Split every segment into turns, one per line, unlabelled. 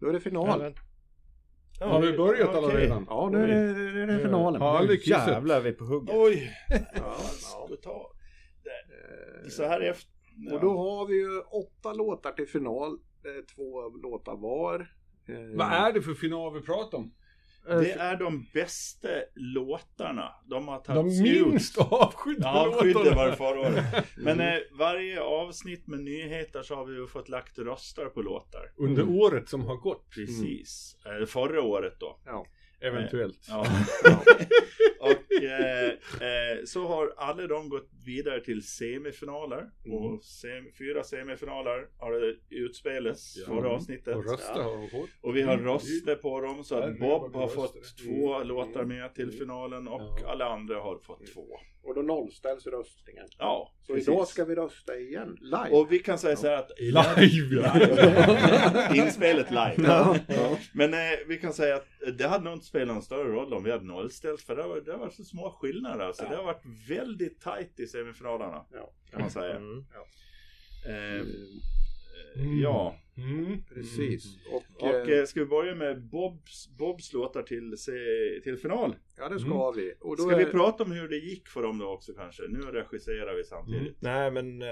Då är det final.
men- Ja,
Har vi börjat
okej.
alla redan?
Ja, nu är det, nu är det finalen.
Ja, lyckas.
Jävlar vi är på hugget.
Oj!
Ja,
Ska ta. Så här efter.
ja. Och då har vi ju åtta låtar till final. eh, Två låtar var. Eh,
Vad är det för final vi pratar om?
Det är de bästa låtarna. De har
De
tagits ut.
minst avskydda
Ja, skydde var det förra året. Men
Mm.
eh, varje avsnitt med nyheter så har vi ju fått lagt röster på
Mm.
låtar.
Under året som har gått,
Precis. Eh, förra året då.
eventuellt.
Ja. och eh, eh, så har alla de gått vidare till semifinaler.
Mm.
Och sem fyra semifinaler har det utspelats
Ja.
förra avsnittet.
Och rösta har de fått.
Och vi har
Mm.
röster på dem så
Där
att
nu har
Bob
vi
har
röster.
fått
Mm.
två låtar med till finalen och
Ja.
alla andra har fått
Mm.
två.
Och då nollställs röstningen.
Ja,
Så idag ska vi rösta igen. Live.
Och vi kan säga så här att...
Live!
Live. Inspelet live.
Ja, ja.
Men eh, vi kan säga att det hade nog inte spelat någon större roll om vi hade nollställt för det var, det var så små skillnader alltså.
Ja.
Det har varit väldigt tajt i semifinalerna
Ja.
kan man säga.
Mm.
Eh,
Mm.
Ja,
Mm.
Precis. Och,
och
eh,
eh, ska vi börja med Bobs, Bobs låtar till, se- till final?
ja, det ska vi. Och då
Ska
är...
vi prata om hur det gick för dem då också kanske? Nu regisserar vi
Mm.
Mm.
samtidigt.
Nej men, eh,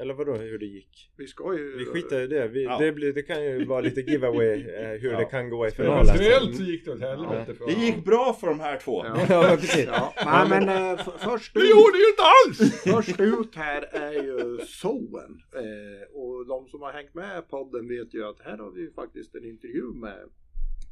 eller vadå hur det gick?
vi ska ju...
Vi skiter i det. Vi,
Ja.
det, blir, det kan ju vara lite giveaway eh, hur
Ja.
det kan gå i finalen.
Eventuellt så gick det åt helvete för
Det gick bra för de här två.
Ja.
Ja men precis.
Ja. Nej, men eh, f- först
Det
ut-
gjorde ju inte alls!
Först ut här är ju Soen. Eh, och de som har hängt med i podden vet ju att här har vi ju faktiskt en intervju med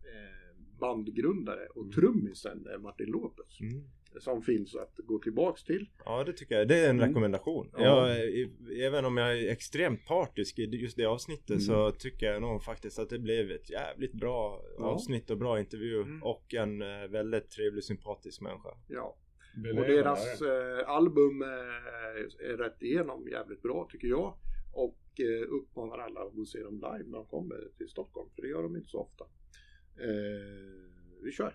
eh, bandgrundare och trummisen eh, Martin Lopez.
Mm.
Som finns att gå tillbaks till.
Ja det tycker jag. Det är en
Mm.
rekommendation.
Ja.
Jag, i- även om jag är extremt partisk i just det avsnittet
Mm.
så tycker jag nog faktiskt att det blev ett jävligt bra
Ja.
avsnitt och bra intervju.
Mm.
Och en eh, väldigt trevlig sympatisk människa.
Ja. Och deras eh, album eh, är rätt igenom jävligt bra tycker jag. Och eh, uppmanar alla att gå och se dem live när de kommer till Stockholm. För det gör de inte så ofta. Eh, vi kör!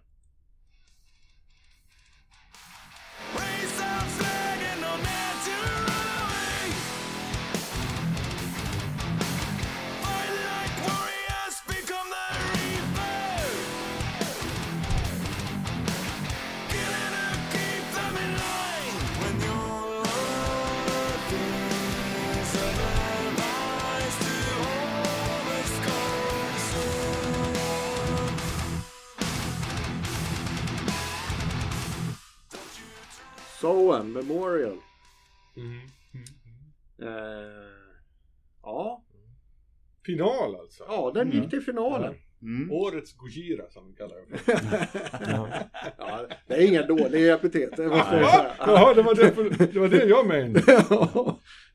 Soen Memorial.
Mm.
Eh, ja.
Final alltså.
ja, den gick till finalen.
Mm.
Årets Gojira som vi kallar det. för.
Ja, det är inga dåliga epitet, det måste jag
Va?
säga.
Jaha, det var det, för, det var det jag menade.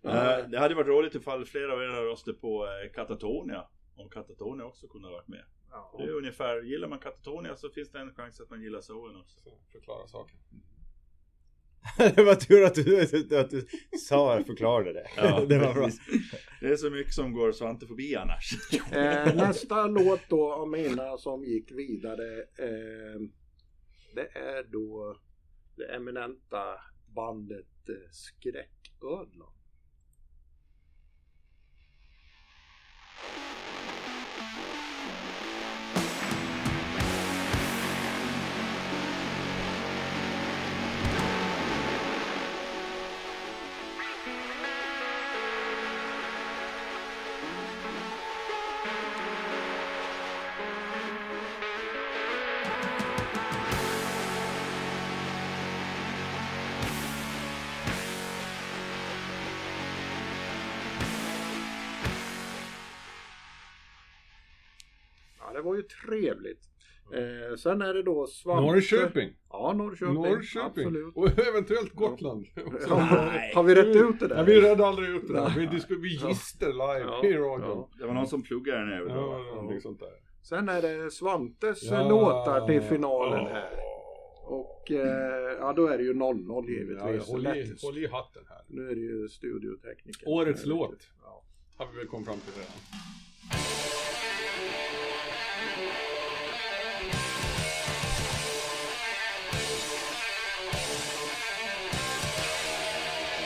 Eh, Det hade varit roligt ifall flera av er hade röstat på eh, Katatonia. Om Katatonia också kunde ha varit med. Det är ungefär, gillar man Katatonia så finns det en chans att man gillar Soen också.
Så, Förklara saken.
Det var tur att du, att du sa och förklarade det.
Ja,
det var bra.
Det är så mycket som går Svante förbi annars.
Eh, nästa låt då av mina som gick vidare. Eh, det är då det eminenta bandet eh, Skräcködlan. Ja, det var ju trevligt. Eh, sen är det då Svante.
Norrköping.
Ja, Norrköping.
Norrköping.
Absolut.
Och eventuellt Gotland.
Så, har vi rätt ut det där?
Ja, vi redde aldrig ut det där.
Nej.
Vi, disku- vi
Ja.
gister live
Ja,
i radion.
ja.
Det var någon som pluggade den
Ja,
över då.
ja, någonting sånt där.
Sen är det Svantes eh,
Ja.
låtar till finalen
Ja.
här. Och eh, ja, då är det ju 0-0
Ja,
givetvis.
håll, i,
Lätt.
håll i hatten här.
Nu är det ju studiotekniker.
Årets
Ja,
låt.
Ja.
Har vi väl kommit fram till redan.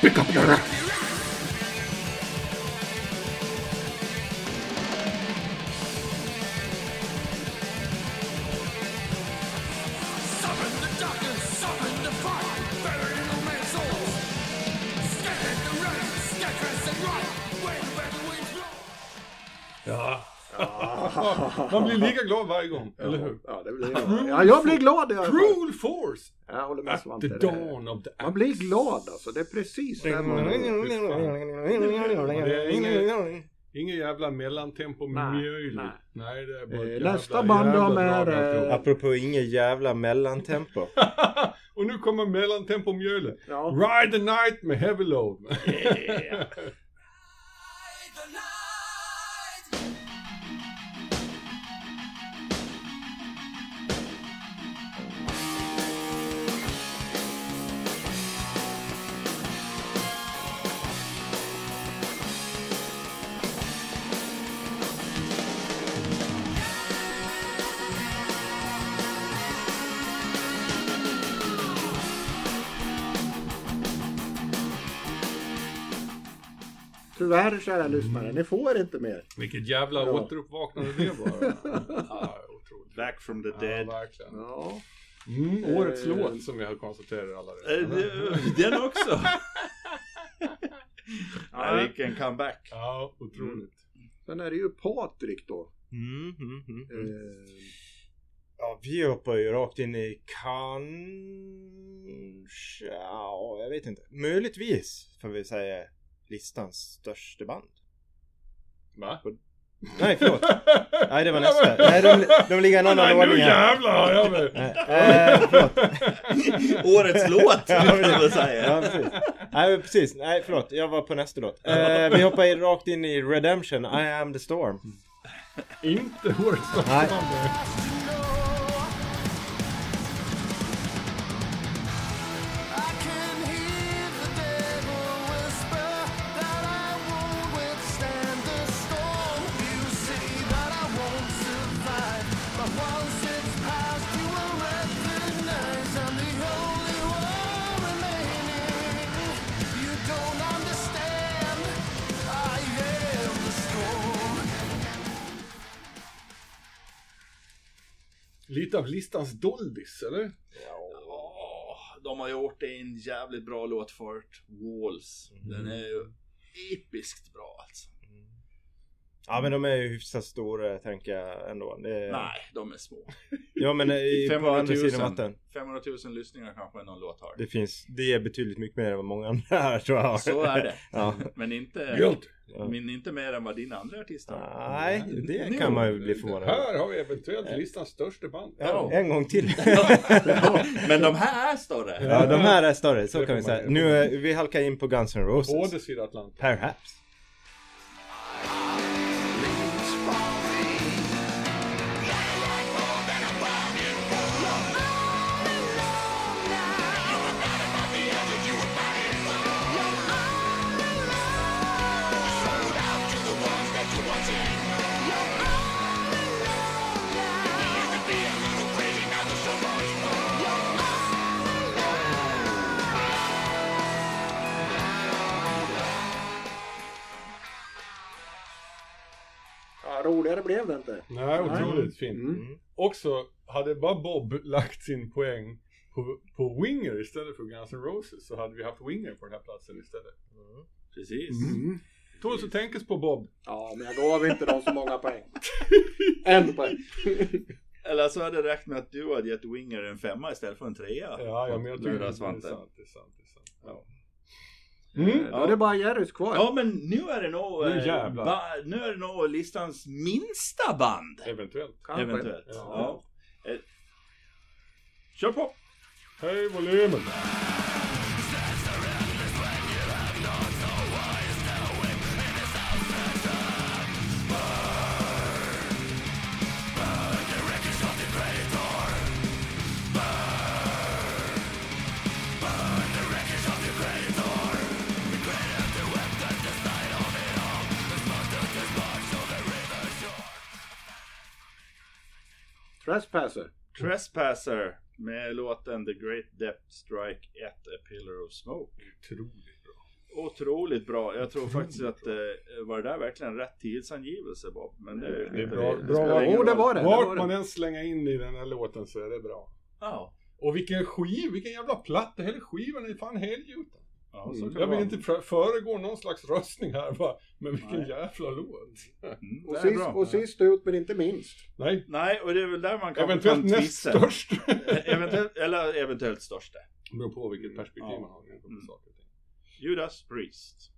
Pick up your
Ja.
Ja.
Man blir lika glad varje gång, eller hur?
Ja, det blir jag. Ja, jag blir glad i alla fall.
Cruel Force!
Jag håller med
At
Svante.
the
Det-
dawn Mm. of the
Man blir glad alltså. Det är precis det man...
Ingen jävla mellantempo
Nej,
med mjöl.
nej.
Nej, det är bara ett
Eh,
jävla-
nästa band
jävla
de är,
drag
eh,
alltihop.
Apropå ingen jävla mellantempo.
Och nu kommer mellantempo mjölet.
Ja.
Ride the night med heavy load.
Tyvärr kära lyssnare, ni får inte mer.
Vilket jävla
Ja.
återuppvaknande det var. ja, otroligt.
Back from the
Ja,
dead.
verkligen.
Ja.
Mm, årets
Eh,
låt som vi har konstaterat alla
Äh,
Eh,
redan.
det- Den också. Ja, vilken comeback.
Ja, otroligt.
Sen är det ju Patrik då.
Mm, mm, mm, mm.
Eh,
Ja, vi hoppar ju rakt in i kanske, ja, jag vet inte. Möjligtvis får vi säga listans största band.
Mm. Va?
Nej, förlåt. Nej, det var nästa. Nej, de, de ligger i en annan
Nej, nu
ordning här.
jävlar har jag med.
Nej, eh, förlåt.
Årets låt,
Ja,
kan
precis.
man väl säga.
Ja, precis. Nej, men precis. Nej, förlåt. Jag var på nästa låt. Eh, vi hoppar in rakt in i Redemption, I am the storm.
Inte årets låt.
Nej.
Lite av listans doldis, eller?
Ja, De har gjort en jävligt bra låt förut, Walls. Den
Mm.
är ju episkt bra alltså.
Ja, men de är ju hyfsat stora, tänker jag ändå. Det är...
Nej, de är små.
Ja, men eh, i, på
500
andra
000,
sidan vatten.
500 000 lyssningar kanske någon låt har.
Det finns, det är betydligt mycket mer än vad många andra här tror jag.
Så är det.
Ja.
Men inte,
Guilt.
men inte mer än vad dina andra artister har.
Nej, det kan man ju bli förvånad över.
Här har vi eventuellt listans största band.
Ja, en gång till.
Men de här är större.
Ja, de här är större, så
Det
kan vi
får man
säga.
ju.
Nu, eh, vi halkar in på Guns N'
Båda
Roses.
sidor Atlanten.
Perhaps.
Ja, roligare blev det inte.
Nej, otroligt fint.
Mm.
Också, hade bara Bob lagt sin poäng på, på Winger istället för Guns N' Roses så hade vi haft Winger på den här platsen istället.
Precis.
Mm.
Tåls att tänkas på Bob.
Ja, men jag gav inte dem så många poäng. En poäng.
Eller så hade det räckt med att du hade gett Winger en femma istället för en trea.
Ja, ja men jag tycker det
Lurar
är sant.
Svante.
Det är sant, det är sant. Ja.
Mm. Då är det bara Jerrys kvar.
Ja men nu är det nog,
Nu
eh,
jävlar.
ba- nu är det nog listans minsta band.
Eventuellt.
Kanske.
Eventuellt.
Ja.
Ja. Eh, Kör på!
Höj volymen!
Trespasser.
Trespasser med låten The Great Depth Strike at a Pillar of Smoke.
Otroligt bra.
Otroligt bra. Jag tror faktiskt att eh, var det där verkligen rätt tidsangivelse Bob? Men det,
Det är bra.
det
bra. Oh,
spelar ingen
Jo, det
roll.
var det. det, var
Vart man
det.
än slänger in i den här låten så är det bra.
Ja.
Och vilken skiv, vilken jävla platta. Hela skivan är fan helgjuten.
Ja, så kan det
Jag vill
vara.
inte fö- föregå någon slags röstning här bara, men vilken
Nej.
jävla låt.
Mm,
Och
det är
sist,
bra.
och sist ut men inte minst.
Nej,
Nej, och det är väl där man kan
eventuellt
kan
näst
tvista.
störst.
eventuellt, eller eventuellt största.
Det beror på vilket perspektiv
Ja.
man har. på
Mm.
saker och ting.
Judas Priest.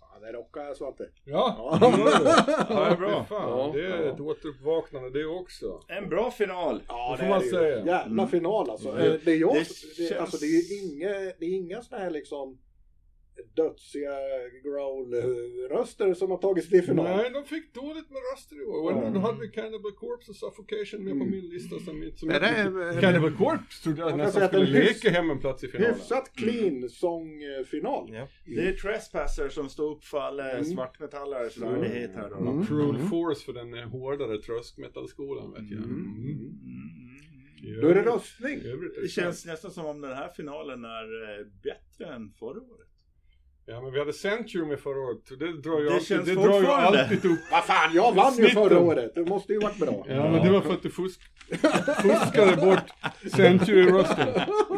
Ja, det rockar Svante.
Ja,
Ja.
Ja, det är bra.
fy fan.
Ja,
det är
ja.
ett återuppvaknande det också.
En bra final.
Ja,
Det får man
är ju
säga.
en Jävla
Mm.
final alltså.
Mm.
Eh, Det är, jag,
Det
det,
känns-
alltså, det är ju inga, det är inga såna här liksom dödsiga growl-röster som har tagits till final.
Nej, de fick dåligt med röster i år.
Ja.
Mm. Nu hade vi Cannibal Corpse och Suffocation med på
Mm.
min lista som, som
Men
jag
det
tyckte-
är-
Cannibal Corpse trodde jag
Man kan
nästan
säga att
skulle
den hyfs-
leka hem en plats i finalen.
Hyfsat clean sångfinal.
Ja.
Det är Trespasser som står upp för all mm.
Mm.
svartmetallares rörlighet här då.
Mm.
Cruel Force för den eh, hårdare tröskmetallskolan vet jag.
Mm.
Mm.
Mm.
Då är det röstning.
I övrigt är
Det känns nästan som om den här finalen är eh, bättre än förra året.
Ja men vi hade Century med förra året, så det drar ju,
Det
alltid,
känns
det drar ju
fortfarande.
alltid upp.
Vad fan, jag vann ju
Snitten.
förra året. Det måste ju varit bra.
Ja, men det var för att du fusk, fuskade bort Century-rösten.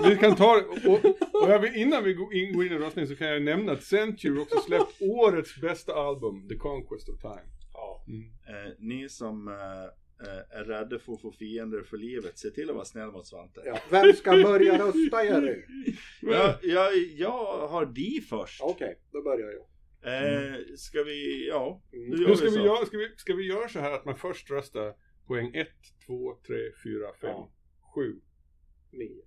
Vi kan ta och, och jag vill, innan vi går in, går in i röstningen så kan jag nämna att Century också släppt årets bästa album, The Conquest of Time.
Ja.
Mm.
Eh, ni som eh, eh, är rädda för att få fiender för livet, se till att vara snäll mot Svante.
Ja. Vem ska börja rösta Jerry?
Jag, jag, jag har di först.
Okej, då börjar jag.
Eh, ska vi, ja.
Mm.
Nu gör
Nu
vi
ska, vi
så.
göra, ska, vi, ska vi göra så här att man först röstar poäng 1, 2, 3, 4, 5,
Ja.
7.
Nio.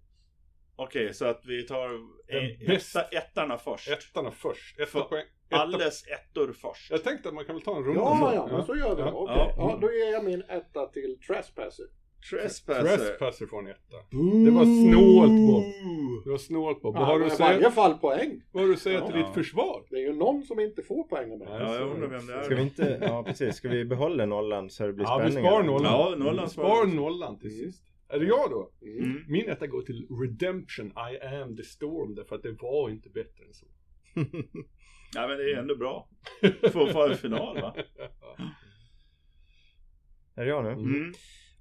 Okej, så att vi tar
Den
eh,
bästa-
etta, ettarna först.
Ettarna först. Etta
För
poäng. Etta.
Alles ettor först.
Jag tänkte att man kan väl ta en runda.
Ja,
så.
ja, men så gör vi det. Okej.
Ja.
Ja, då ger jag min etta till Trespasser.
Trespasser.
Trespasser får en etta.
Mm.
Det var snålt Bob.
Mm.
Det var snålt Bob.
Ja,
Vad har du
men
att
I varje
säga,
fall poäng.
vad har du att säga till
Ja.
ditt försvar?
Det är ju någon som inte får poäng av mig.
Ja.
Ja, jag undrar vem det är.
Ska vi inte, ja precis, ska vi behålla nollan så det blir
Ja, vi
spänning?
sparar nollan.
Ja, nollan
Spar
svarar.
nollan till
Mm.
sist. Är det jag då?
Mm.
Mm.
Min etta går till Redemption, I am the storm, därför att det var inte bättre än så.
Ja, men det är ändå bra. För att få en final va?
Är det jag nu?
Mm.
Mm.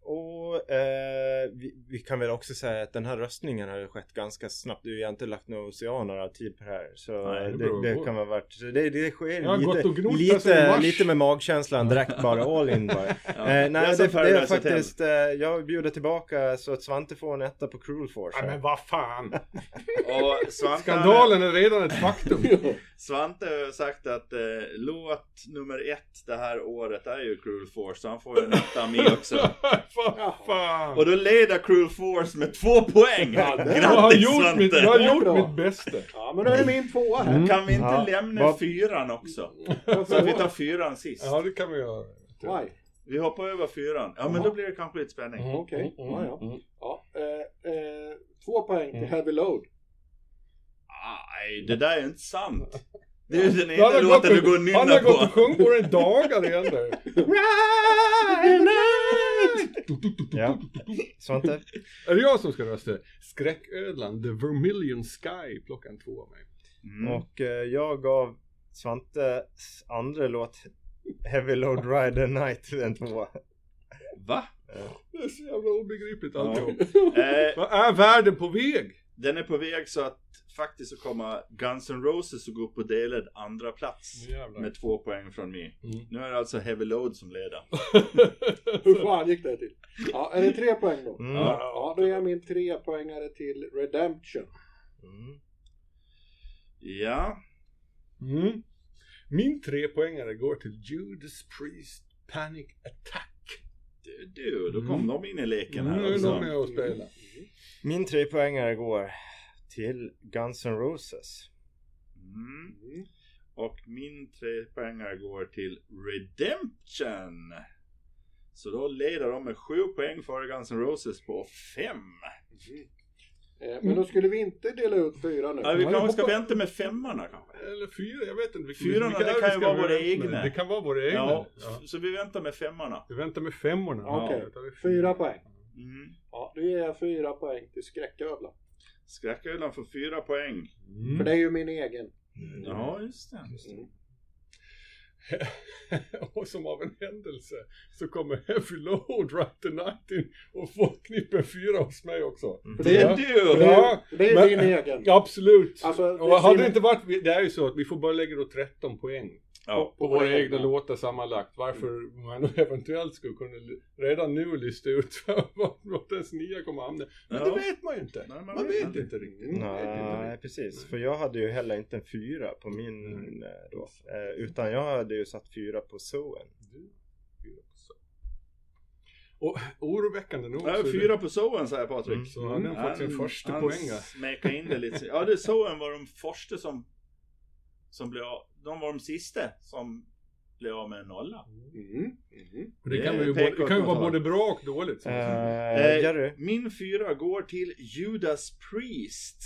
Och eh, vi, vi kan väl också säga att den här röstningen har ju skett ganska snabbt. Vi har inte lagt några oceaner av tid på det här. Så
Nej, det
det,
beror
det,
på.
kan vara värt. så Det, det sker
Jag har gått och
lite,
gnott här sedan
lite,
mars.
lite med magkänslan direkt bara. All in bara.
Ja.
Eh,
Jag
nej,
sa
det, det är
Paradise Hotel.
faktiskt, eh, jag bjuder tillbaka så att Svante får en etta på Cruel Force.
Nej
här.
men vad fan!
Och Svante,
Skandalen är redan ett faktum.
Svante har sagt att eh, låt nummer ett det här året är ju Cruel Force, så han får ju en etta med också.
vad fan!
Och då leder Cruel Force med två poäng!
Ja, det-
Jag har
Grattis
gjort mitt, jag
Svante!
har gjort
Bra.
mitt bästa.
Ja, men då är det min tvåa här.
Mm.
Kan vi inte
Ja.
lämna
Vad-
fyran också? Så att vi tar fyran sist.
Ja, det kan vi göra.
Why?
Vi hoppar över fyran. Ja, men då blir det kanske lite spänning.
Mm,
Okej.
mm,
Ja, ja.
mm.
Ja, eh, eh, två poäng till
Mm.
Heavy Load.
Nej, det där är inte sant. Det är ju den
Han har
enda låten
gått
du
och-
går och
Han har
nynnar
gått och
på.
sjungit på den i dagar igen nu.
Ja. Svante?
Är det jag som ska rösta? Skräcködlan, The Vermilion Sky, plockar en två av mig.
Mm.
Och eh, jag gav Svantes andra låt Heavy Load Rider Night en tvåa.
Va?
Det är så jävla obegripligt alltihop.
Eh,
Vad är världen på väg?
den är på väg så att faktiskt så kommer Guns N' Roses att gå upp på delad andra plats.
Nu jävlar.
Med två poäng från mig.
Mm.
Nu är det alltså Heavy Load som leder.
Hur fan gick det till? Ja, är det tre poäng då?
Mm.
Ja, ja, då är jag min trepoängare till Redemption.
Mm.
Ja,
Mm. Min trepoängare går till Judas Priest Panic Attack.
du, du då kom
Mm.
de in i leken
Mm, nu
här
är de
också.
med och spelar.
Mm.
Min trepoängare går till Guns N' Roses.
Mm.
Mm.
Och min tre poängar går till Redemption. Så då leder de med 7 poäng före Guns N' Roses på 5.
Eh, Men då skulle vi inte dela ut fyra nu.
Ja, vi
jag
kanske ska
hoppas-
vänta med femmarna kanske?
Eller fyra, jag vet inte. vilka-
Fyrorna,
vilka
det
är vi
kan ju
ska
vara
börja
våra
med?
egna.
Det kan vara våra egna.
Ja,
Ja.
så vi väntar med femmarna.
Vi väntar med femmorna.
Okej,
Ja, då tar vi
fyra poäng.
Mm.
Ja, då ger jag fyra poäng till skräcködlan.
Skräcködlan får 4 poäng.
Mm.
För det är ju min egen.
Ja, just det.
och som av en händelse så kommer Heavy Load Right the Night och får knippen fyra hos mig också.
För
Det
det
är
är,
du!
Ja,
det är
men-
din egen.
absolut.
Alltså,
och hade det
sin-
inte varit, vi- det är ju så att vi får bara lägga då 13 poäng
Ja.
på våra egna Mm. låtar sammanlagt. Varför man då eventuellt skulle kunna l- redan nu lista ut vad vad ens nia kommer att hamna. Men det
Ja.
vet man ju inte.
Nej, man
man,
vet
vet
inte.
inte riktigt.
Mm. Nej, precis. För jag hade ju heller inte en fyra på min eh, då. Eh, Utan jag hade ju satt fyra på Zoen.
Och oroväckande nog
Ja,
så är det-
fyra Mm. på Soen säger Patrik.
Mm.
så hade han fått sin första
han
poäng här.
smekade in det lite. Ja, det Soen var de första som, som blev av. De var de sista som blev av med en nolla.
Mm, mm.
Och Det
Det
kan,
är
ju både,
pekar
det kan ju
åt
vara
något
både bra och dåligt. så att säga.
Eh, Jerry?
min fyra går till Judas Priest.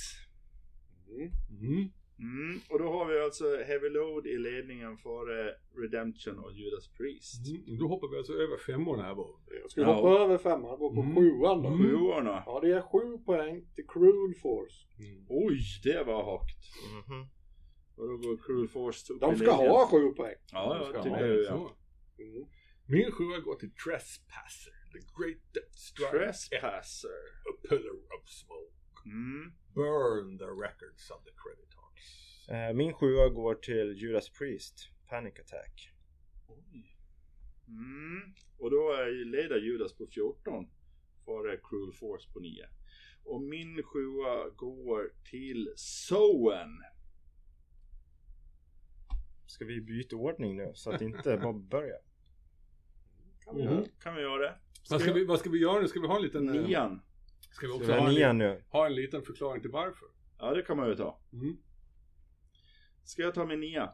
Mm.
Mm.
Mm, och då har vi alltså Heavy Load i ledningen före Redemption och Judas Priest.
Mm. Då hoppar vi alltså över femmorna här bara.
Jag ska
Ja.
hoppa över femman och gå på
Mm.
sjuan då.
Mm.
Sjuorna.
Ja, det är sju poäng till Cruel Force.
Oj, det var högt.
Mhm.
Och då går Cruel Force upp
De
i
ska
ledningen.
ha sju poäng.
Ja,
Ska
jag
man
tycker
ha
ju
det
ja.
så?
Mm.
Min sjua går till Trespasser. The Great Death Strike.
Trespasser.
A Pillar of Smoke.
Mm.
Burn the records of the credit cards.
Eh, Min sjua går till Judas Priest, Panic Attack.
Oj. Mm. Och då är ju- leder Judas på 14. Före Cruel Force på 9. Och min sjua går till Soen.
Ska vi byta ordning nu så att inte Bob börjar?
Kan vi
Mm.
göra.
Kan vi göra det?
Vad ska, vi, vad ska vi göra nu? Ska vi ha en liten... eh,
Nian.
Ska vi
Så
också
det
ha
är
en, li-
nian nu.
ha en liten förklaring till varför?
Ja, det kan man ju ta.
Mm.
Ska jag ta min nia?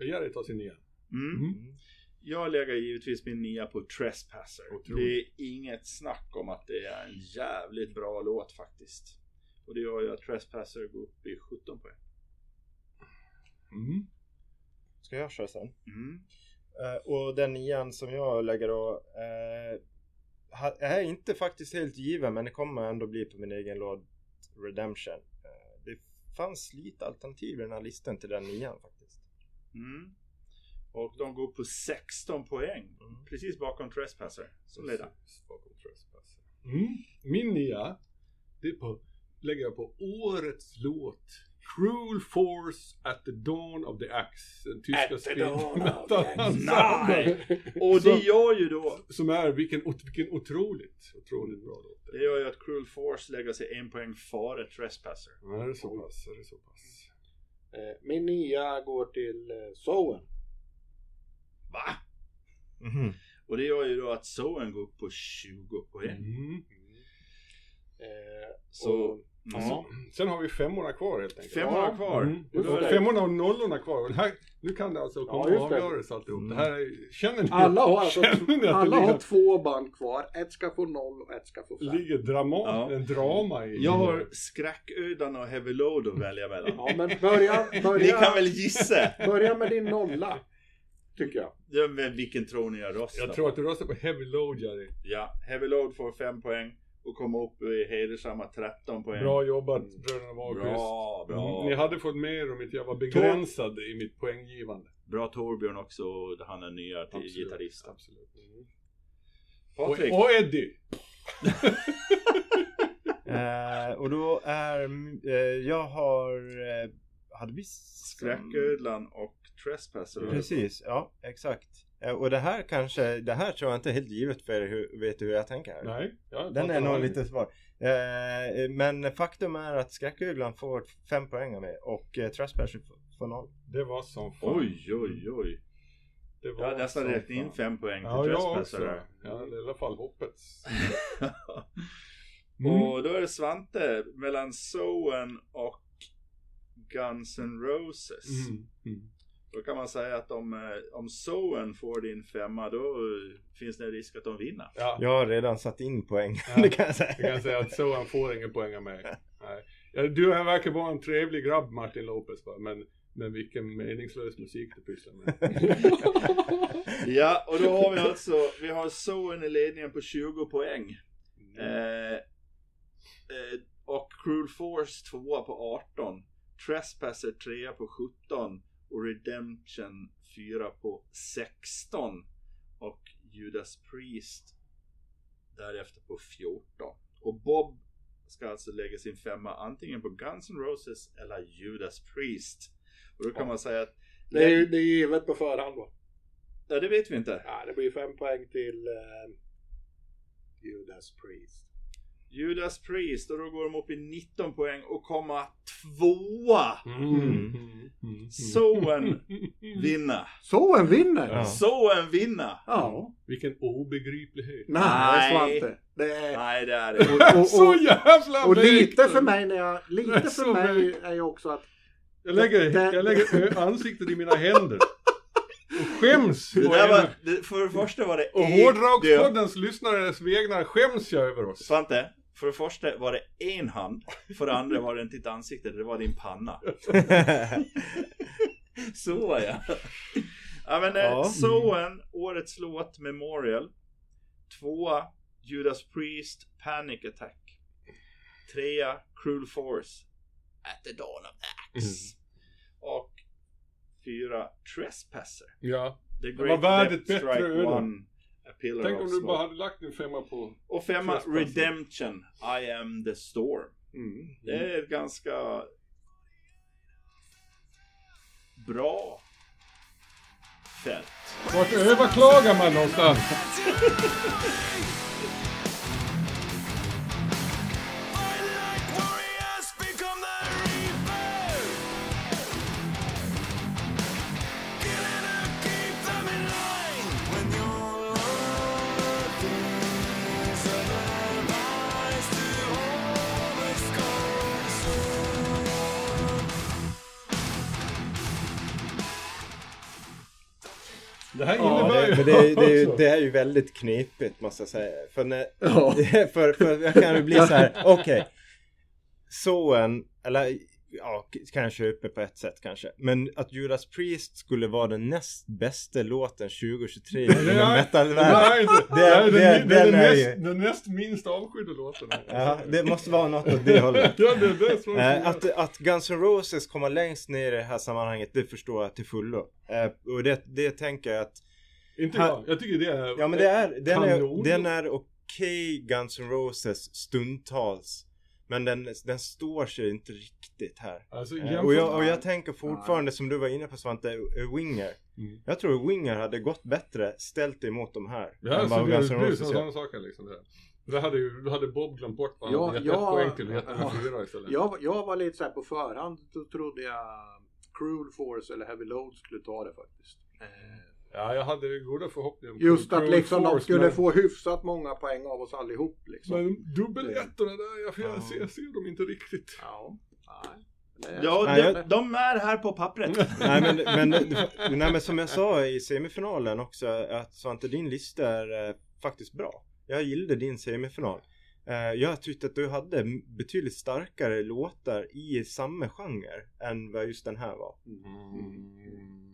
Jerry tar sin nia.
Mm.
Mm.
Jag lägger givetvis min nia på Trespasser.
Otroligt.
Det är inget snack om att det är en jävligt bra låt faktiskt. Och det gör ju att Trespasser går upp i 17 poäng.
Mm.
Ska jag köra sen?
Mm.
Eh, och den nian som jag lägger då eh, ha- är inte faktiskt helt given men det kommer ändå bli på min egen låt Redemption. Eh, det fanns lite alternativ i den här listan till den nian faktiskt.
Mm. Och de går upp på 16 poäng. Precis bakom Trespasser. Som leder.
Mm. Precis, bakom Trespasser. Mm. Min nia, det är på, lägger jag på årets låt. Cruel Force at the Dawn of the Axe. Den tyska
At the dawn of the axe.
speedmetal-ensemblen.
Och det
Så-
gör ju då
Som är, vilken, ot- vilken otroligt, otroligt bra låt.
det gör ju att Cruel Force lägger sig en poäng före Trespasser.
Ja, det är så pass, det är så pass.
Eh, Min nia går till eh, Soen.
Va?
Mhm.
Och det gör ju då att Soen går upp på 20 poäng.
Mm.
Eh,
Så-
och-
Ja. Sen har vi femmorna kvar helt enkelt.
Femmorna
Ja.
kvar.
Mm.
Och då är det-
Femmorna och nollorna kvar. Och det här, nu kan det alltså komma
just det.
avgöras alltihop. Det här är, känner ni?
Alla har alltså
känner ni att
alla
det
har
ligger,
två band kvar. Ett ska få noll och ett ska få fem.
ligger dramat,
Ja.
en drama i?
Jag har skräcködan och heavy load att välja mellan.
Ja, men börja,
Ni
börja,
kan väl gissa?
börja med din nolla. Tycker jag.
Ja, men vilken tror ni jag röstar
Jag tror att du röstar på Heavy Load Jerry.
Ja, heavy load får 5 poäng och kommer upp i hedersamma 13 poäng.
Bra jobbat bröderna Wahlqvist.
bra,
Mm,
bra.
Ni hade fått med er om inte jag var begränsad i mitt poänggivande.
Bra Torbjörn också, och han är nya till gitarristen.
Absolut. Mm. Och,
Patrik,
och Eddie!
Eh, och då är, eh, jag har, eh, hade vi
skräcködlan och trespasser.
Precis, ja exakt. Eh, och det här kanske, det här tror jag inte är helt givet för er hur, vet hur jag tänker. här.
Nej, jag
Den
fattar
är nog
aldrig.
lite svår. Eh, men faktum är att Skräcköglan får fem poäng av mig och eh, Trespasser får- får noll.
Det var som fan.
Oj, oj, oj.
Det var
Jag har nästan
som
räknat in
fan.
5 poäng till
Ja, jag också.
trespasser.
Ja, i alla fall hoppets. Mm.
Och då är det Svante mellan Soen och Guns N' Roses.
Mm. Mm.
Då kan man säga att om, eh, om Soen får din femma då eh, finns det en risk att de vinner.
Ja,
Jag har redan satt in poäng,
Ja.
det kan jag säga.
jag kan säga att Sohan får ingen poäng av mig. Nej. Ja, Du han verkar vara en trevlig grabb Martin Lopez va? Men, men vilken meningslös musik du pysslar med.
Ja, och då har vi alltså, vi har Soen i ledningen på 20 poäng.
Mm.
Eh, eh, och Cruel Force 2 på 18. Trespasser 3 på 17. Och Redemption 4 på 16. Och Judas Priest därefter på 14. Och Bob ska alltså lägga sin femma antingen på Guns N' Roses eller Judas Priest. Och då kan man säga att...
Det är, ju- det är givet på förhand va?
Ja, det vet vi inte.
Ja, det blir fem poäng till eh, Judas Priest.
Judas Priest och då går de upp i 19 poäng och komma tvåa.
Mm. Mm.
Soen vinna.
Så en vinner!
Ja.
Soen vinna.
Ja.
Vilken obegriplighet.
Mm. Nej,
Nej.
Svante. Det är...
Nej det är det.
Och, och,
Så
och,
jävla
och lite
märkligt.
för mig, när jag, lite för
Så
mig
märkligt.
är ju också att
Jag lägger, jag lägger ö- ansiktet i mina händer. Och skäms.
Det
å
där
ena-
var, det, för det första var det
Och
en- du,
Hårdrockspoddens lyssnares vägnar skäms jag över oss.
Svante, för det första var det en hand. För det andra var det inte ditt ansikte, det var din panna. Så ja. Ja men ja.
Ja.
Soen, årets låt Memorial. Tvåa, Judas Priest, Panic Attack. Trea, Cruel Force, At the Dawn of Axe. Och fyra, Trespasser.
Ja.
The
var värd ett bättre öde.
A Pillar
Tänk
of
om du
Smoke.
bara hade lagt din femma på...
Och femma,
Trespasser.
Redemption, I am the storm. Det är ett ganska bra fält.
Vart överklagar man någonstans? Det här
Ja,
innebär ju
det, men det, det, är ju-
också-
det här är ju väldigt knepigt måste jag säga. För, när,
Ja.
för, för jag kan ju bli så här, okej. Soen, eller ja, k- kan jag köpa på ett sätt kanske. Men att Judas Priest skulle vara den näst bästa låten 2023
Det
inom
är-
metalvärlden.
Nej, det-
Det är-
nej,
det är-
det- det är
den
den
är
näst-
ju-
Den näst minst avskydda låten.
Ja, det måste vara något åt det hållet.
Ja, det är det som
Eh, att, att Guns N' Roses kommer längst ner i det här sammanhanget, det förstår jag till fullo. Eh, och det, det tänker jag att
Inte jag. Jag tycker det är...
Ja men det är, den
Kanon.
är, den är okej Guns N' Roses stundtals. Men den, den står sig inte riktigt här.
Alltså,
Eh,
jämfört
Och jag,
med-
och jag tänker fortfarande som du var inne på Svante, eh, Winger.
Mm.
Jag tror Winger hade gått bättre ställt emot de här.
Ja, så
än vad
det
Guns N'
är ju
Roses gör.
sådana saker liksom. Det, här. det hade ju då hade Bob glömt bort vad
Ja,
han hade gett
ja.
ett poäng till och gett honom
Ja.
fyra istället.
jag, jag var lite så här på förhand, då trodde jag Cruel Force eller Heavy Load skulle ta det faktiskt. Eh,
Ja, jag hade ju goda förhoppningar. om
Just
Cruel
att liksom de
Force,
skulle
men-
få hyfsat många poäng av oss allihop liksom.
Men dubbelettorna där, jag, jag,
Ja.
ser, jag ser dem inte riktigt.
Ja, nej. Det-
Ja,
Nej,
de,
jag-
de är här på pappret.
nej, men, men, nej men som jag sa i semifinalen också att Svante din lista är eh, faktiskt bra. Jag gillade din semifinal. Eh, jag tyckte att du hade m- betydligt starkare låtar i samma genre än vad just den här var.
Mm.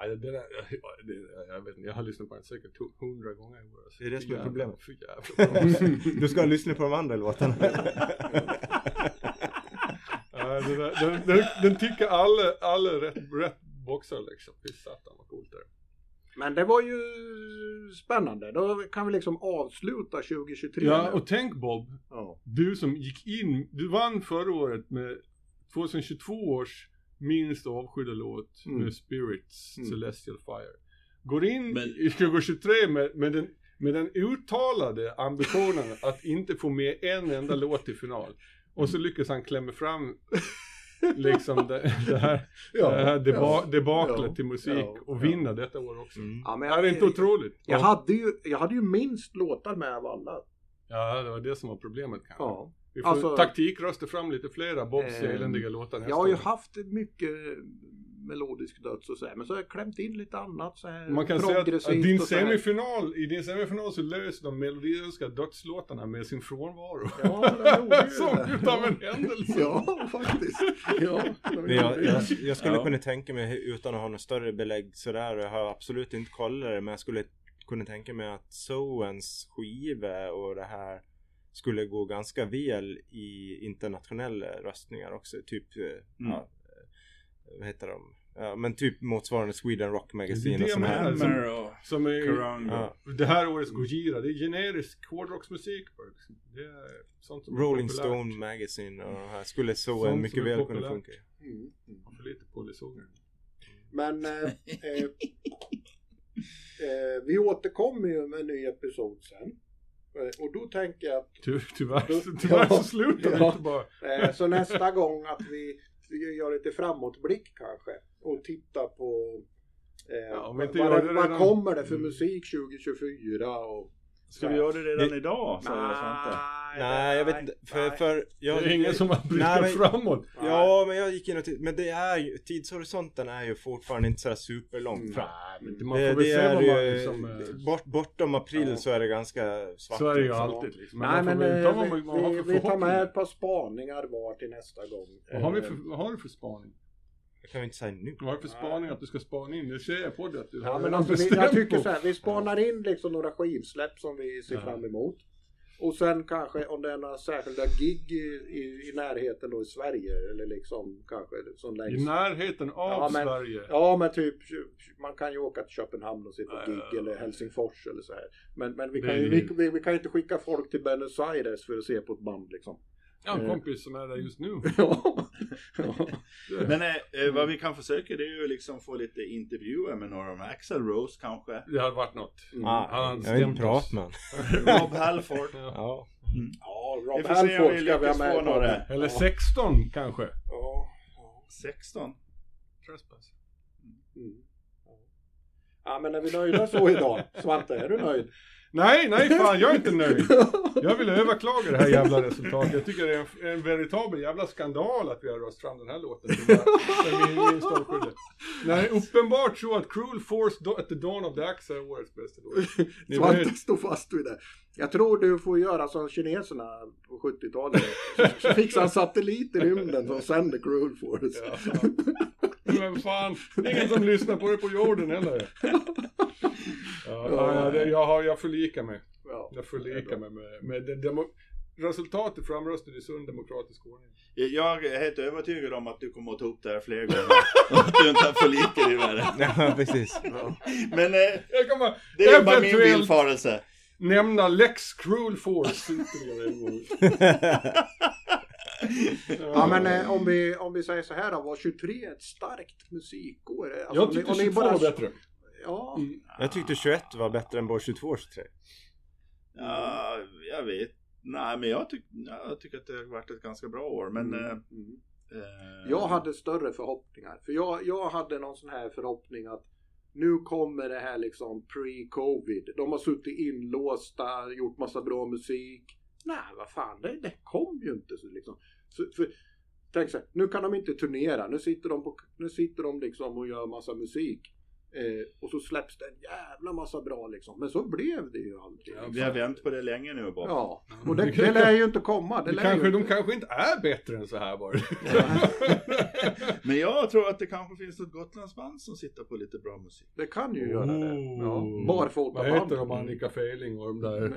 Nej, det där, jag, det, jag, vet inte, jag har lyssnat på den säkert hundra gånger i år.
Det är det som är
Jävla-
problemet.
för jävla bra.
Du ska lyssna på de andra låtarna.
Ja, det där- den, den, den tickar alla, alla rätt, rätt boxar liksom. Fy satan vad coolt det är.
Men det var ju spännande. Då kan vi liksom avsluta 2023
Ja,
nu.
och tänk Bob,
ja.
du som gick in, du vann förra året med 2022 års minst avskydda låt
Mm.
med Spirits
Mm.
Celestial Fire. Går in
Men-
i 2023 med, med, den, med den uttalade ambitionen att inte få med en enda låt i final. Och så lyckas han klämma fram liksom det, det här,
Ja,
Eh, det här deba, debaklet
ja,
till musik
ja,
och
ja.
vinna detta år också.
Mm.
Ja, men
Det här är inte
jag,
otroligt.
jag, hade ju, jag hade ju minst låtar med av alla.
Ja, det var det som var problemet kanske.
Ja.
Vi får
Alltså-
taktikrösta fram lite flera Bobs
Eh,
eländiga låtar nästa
Jag har ju
år.
haft mycket melodisk döds och så här. Men så har jag klämt in lite annat så här
Man kan säga att, att
progressivt
din
och så här.
semifinal, i din semifinal så löser de melodiösa dödslåtarna med sin frånvaro.
Ja, den gjorde ju
Som
det.
utav en händelse.
Ja, faktiskt. Ja, den
Men Jag,
gjorde
jag,
det.
jag skulle
Ja.
kunna tänka mig, hur- utan att ha något större belägg sådär, och jag har absolut inte kollat det, men jag skulle kunna tänka mig att Soens skiva och det här skulle gå ganska väl i internationella röstningar också. Typ, eh,
Mm.
ja, eh, vad heter de? Ja, men typ motsvarande Sweden Rock
Det är
Magazine och
det
sådana
jag
här.
menar.
Som,
Hammer och
Som är,
Karango.
Mm. ja.
det här årets Gojira, det är generisk hårdrocksmusik. bara liksom. Det är sånt som är
Rolling
populärt.
Stone Magazine och de här skulle
Sånt
Soen
som
mycket
är
väl kunna
populärt.
funka.
Mm, mm.
Man får lite polisånger.
Men eh, eh, eh, vi återkommer ju med en ny episod sen. Eh, Och då tänker jag att
Ty, tyvärr så, tyvärr så
Ja.
slutar det
Ja.
inte bara.
Eh, Så nästa gång att vi gör lite framåtblick kanske och tittar på eh,
Ja, om vi
vad,
inte gör det
vad
redan-
kommer det för
Mm.
musik 2024 och...
Ska vi göra det redan idag? sa jag Svante.
Nej, jag vet inte. För,
nej.
för,
Det
jag,
är ingen som har brytt
Nej,
sig
men-
framåt.
Ja, men jag gick in och tittade. Men det är ju, tidshorisonten är ju fortfarande inte så här superlångt
Mm.
fram. Eh,
Men Man får
det,
väl
det
se
är
vad man
ju,
liksom... eh,
bort, bortom april
Ja.
så är det ganska svart.
Så är det ju
liksom.
alltid liksom.
Nej,
man
men
får väl ta
eh,
vad
vi,
man- vad man har för
vi, vi tar med
förhoppningar.
ett par spaningar var till nästa gång.
Vad har, vi
Eh,
för, vad har du för spaning?
Jag kan ju inte säga nu.
Vad har du för
Nej.
spaning att du ska spana in? Det ser jag på dig att du
Ja,
har
men
redan
alltså, vi,
bestämt
jag tycker
på.
så här, vi spanar in liksom några skivsläpp som vi ser
Ja.
fram emot. Och sen kanske om det är några särskilda gig i, i, i närheten då i Sverige eller liksom kanske som längst.
I närheten av
Ja, men-
Sverige.
Ja men typ, man kan ju åka till Köpenhamn och se på
Ja,
gig
ja,
eller Helsingfors eller så här. Men, men vi,
Det
kan
är
ju, vi,
ju-
vi, vi kan ju inte skicka folk till Buenos Aires för att se på ett band liksom.
Jag har en
eh.
kompis som är där just nu.
Ja. ja.
Men eh, eh, vad vi kan försöka det är ju liksom få lite intervjuer med några av dem. Axel Rose kanske.
Det hade varit något.
Mm.
Ah,
han
jag vill
stämt
inte prata
oss.
med honom.
Rob Halford.
Ja.
Ja.
ja
Vi
Rob
får se om vi
Halford ska vi
lyckas
ha med.
få
i podden.
några.
Eller
Ja.
16 kanske.
Ja.
16.
Trespass.
Mm. Ja. Ja men är vi nöjda så idag? Svante, är du nöjd?
Nej, nej fan jag är inte nöjd. Jag vill överklaga det här jävla resultatet. Jag tycker det är en, en veritabel jävla skandal att vi har röstat fram den här låten. till våra- till Min, min storskylde. Nej, det är uppenbart så att Cruel Force Do- at the Dawn of the Axe är årets bästa låt. Det är
Svante
väl-
står fast vid det. Jag tror du får göra som kineserna på 70-talet. Så fixar en satellit i rymden som sänder Cruel Force.
Ja. Men fan, det är ingen som lyssnar på det på jorden heller. Ja, ja, det, jag, har, jag förlikar mig.
Ja.
Jag förlikar mig med, med det, demo, resultatet framröstade i sund demokratisk ordning.
Jag är helt övertygad om att du kommer att ta upp det här fler gånger. Och att du inte har förlikat dig med det.
ja, precis.
Men eh,
Jag kan bara
det är ju bara min
Eventuellt.
villfarelse.
nämna Lex Cruel Force ytterligare en gång.
Ja men eh, om, vi, om vi säger så här då, var 23 ett starkt musikår? Alltså,
jag tyckte
om ni- om ni
22
bara-
var bättre.
Ja,
Mm.
Jag tyckte 21 var bättre än både 22 och 23.
Ja, jag vet. Nej, men jag, tyck, jag tycker att det har varit ett ganska bra år. Men, eh,
Mm.
eh,
Jag hade större förhoppningar. För jag, jag hade någon sån här förhoppning att nu kommer det här liksom pre-covid. De har suttit inlåsta, gjort massa bra musik. Nej, vad fan, det, det kom ju inte. Så liksom. så, för, tänk så här, nu kan de inte turnera. Nu sitter de, på, nu sitter de liksom och gör massa musik. Eh, och så släpps det en jävla massa bra liksom. Men så blev det ju aldrig.
Vi har vänt på det länge nu bara.
Ja, och det, det lär ju inte komma. Det
Det
lär
kanske,
ju
de
inte.
kanske inte är bättre än så här bara.
Men jag tror att det kanske finns något Gotlandsband som sitter på lite bra musik.
Det kan ju göra det. Ja.
Oh. Vad
Barfotaband.
heter de? Annika Feling och de där.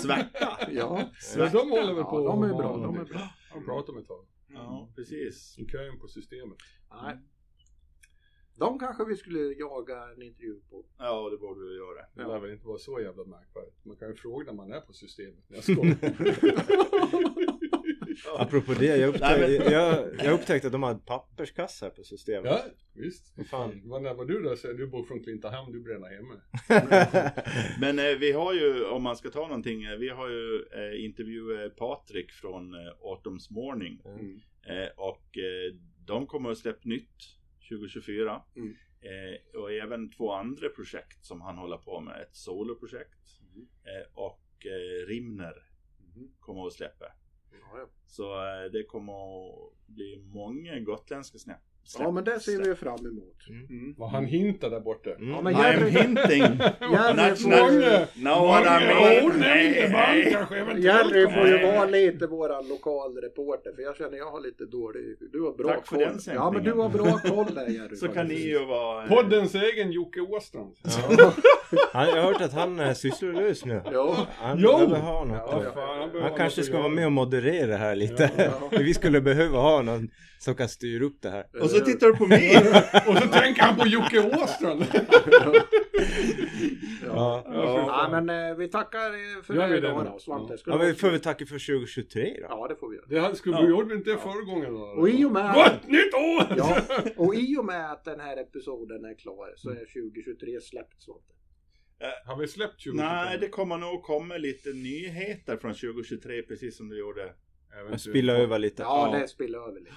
Svärta!
Ja.
Eh,
Men de håller väl på
Mm. Ja, de är
att-
bra, de är bra.
De pratar om ett tag.
Ja, precis.
De kör in på systemet.
Nej. De kanske vi skulle jaga en intervju på.
Ja, det borde vi göra.
Det
Ja.
lär väl inte vara så jävla märkvärdigt. Man kan ju fråga när man är på systemet. Jag skojar.
Apropå det, jag upptäckte,
Nej, men-
jag, jag upptäckte att de hade papperskassar på systemet.
ja, visst.
Vad fan.
Vad när var du då? Så Du bor från Klintahamn, du bränner hemma.
Men eh, vi har ju, om man ska ta någonting, eh, vi har ju eh, intervjuat Patrik från eh, Autumn's Morning.
Mm.
Eh, och eh, de kommer att släppa nytt 2024.
Mm.
Eh, och även två andra projekt som han håller på med. Ett soloprojekt
Mm.
eh, och eh, Rimner
Mhm.
kommer att släppa.
Ja, ja.
Så eh, det kommer att bli många gotländska snä-
Ja, men det ser vi Mm. fram emot.
Mm.
Vad han hintar där borta.
Ja,
Mm.
men
I am
Järvi,
hinting.
Järvi,
Not-
får,
Mange!
Know what I mean? Hey, hey.
Järvi får ju
Nej.
vara lite våran lokalreporter, för jag känner jag har lite dålig... Du har bra
Tack för
koll.
den
ja, men du har bra koll där Jerry.
Så kan ni ju vara... eh,
Poddens egen Jocke Åstrand.
Ja,
Han, jag har hört att han är sysslolös nu.
ja.
Han
Jo!
behöver ha något.
Ja, ja.
han behöver
Han
något
kanske
att
ska
göra.
vara med och moderera det här lite.
Ja.
För Vi skulle behöva ha någon som kan styra upp det här.
Och så tittar du på mig!
Och så tänker han på Jocke Åstrand.
Ja.
Ja.
Ja, men eh, vi tackar eh, för
Gör vi det
idag
nu?
då, Svante. Ska
Ja,
du
men
ha-
vi får väl tacka för 2023 då.
Ja, det får vi göra.
Det här skulle,
Ja.
gjorde vi inte det förra gången då?
Och i och med...
Gott nytt år!
Ja, och i och med att den här episoden är klar så är 2023 släppt. Så.
Har vi släppt 20
Nej, det kommer nog komma lite nyheter från 2023 precis som du gjorde.
Och spilla över lite.
Ja,
Ja.
det spiller över lite.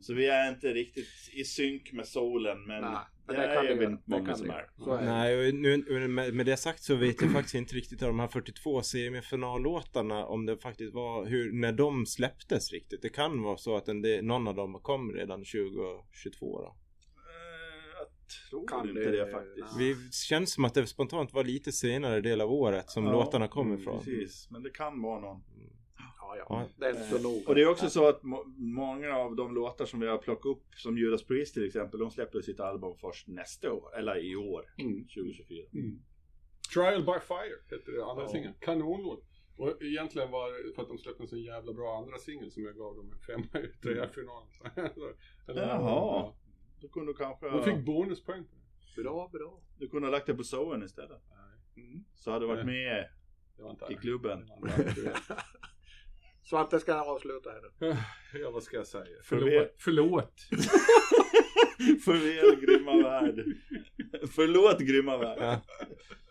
Så vi är inte riktigt i synk med solen, men
Nej,
det,
men det kan
är
vi
väl
göra.
inte
Det
många
kan
som
vi
är. Eh,
göra. Så är det.
Nej, och nu, och med, med det sagt så vet jag faktiskt inte riktigt av de här 42 semifinallåtarna om det faktiskt var hur, när de släpptes riktigt. Det kan vara så att en, del- någon av dem kom redan 2022 då.
Eh, Jag tror
Kan
inte
det-
det faktiskt.
nej.
Vi känns som att det spontant var lite senare del av året som
Ja,
låtarna
Mm,
kom ifrån.
Precis, men det kan vara någon.
Ja, ja.
Ja.
Det är inte så
Eh,
noga.
Och det är också så att må- många av de låtar som vi har plockat upp, som Judas Priest till exempel, de släpper sitt album först nästa år, eller i år,
Mm.
2024.
Trial by Fire heter det, andra
Ja.
singeln. Kanonlåt. Och egentligen var det för att de släppte en så jävla bra andra singel som jag gav dem en femma i treafinalen. Eller-
Jaha. Då kunde du kanske
De
ha,
fick bonuspoäng på det.
Bra, bra.
du kunde ha lagt det på Soen istället.
Mm.
Så hade du varit med
Det var inte
i klubben.
Svante ska avsluta här nu.
Ja, vad ska jag säga?
Förlåt.
Förlåt. Förlåt.
Förväl grymma värld. Förlåt grymma värld.
Ja.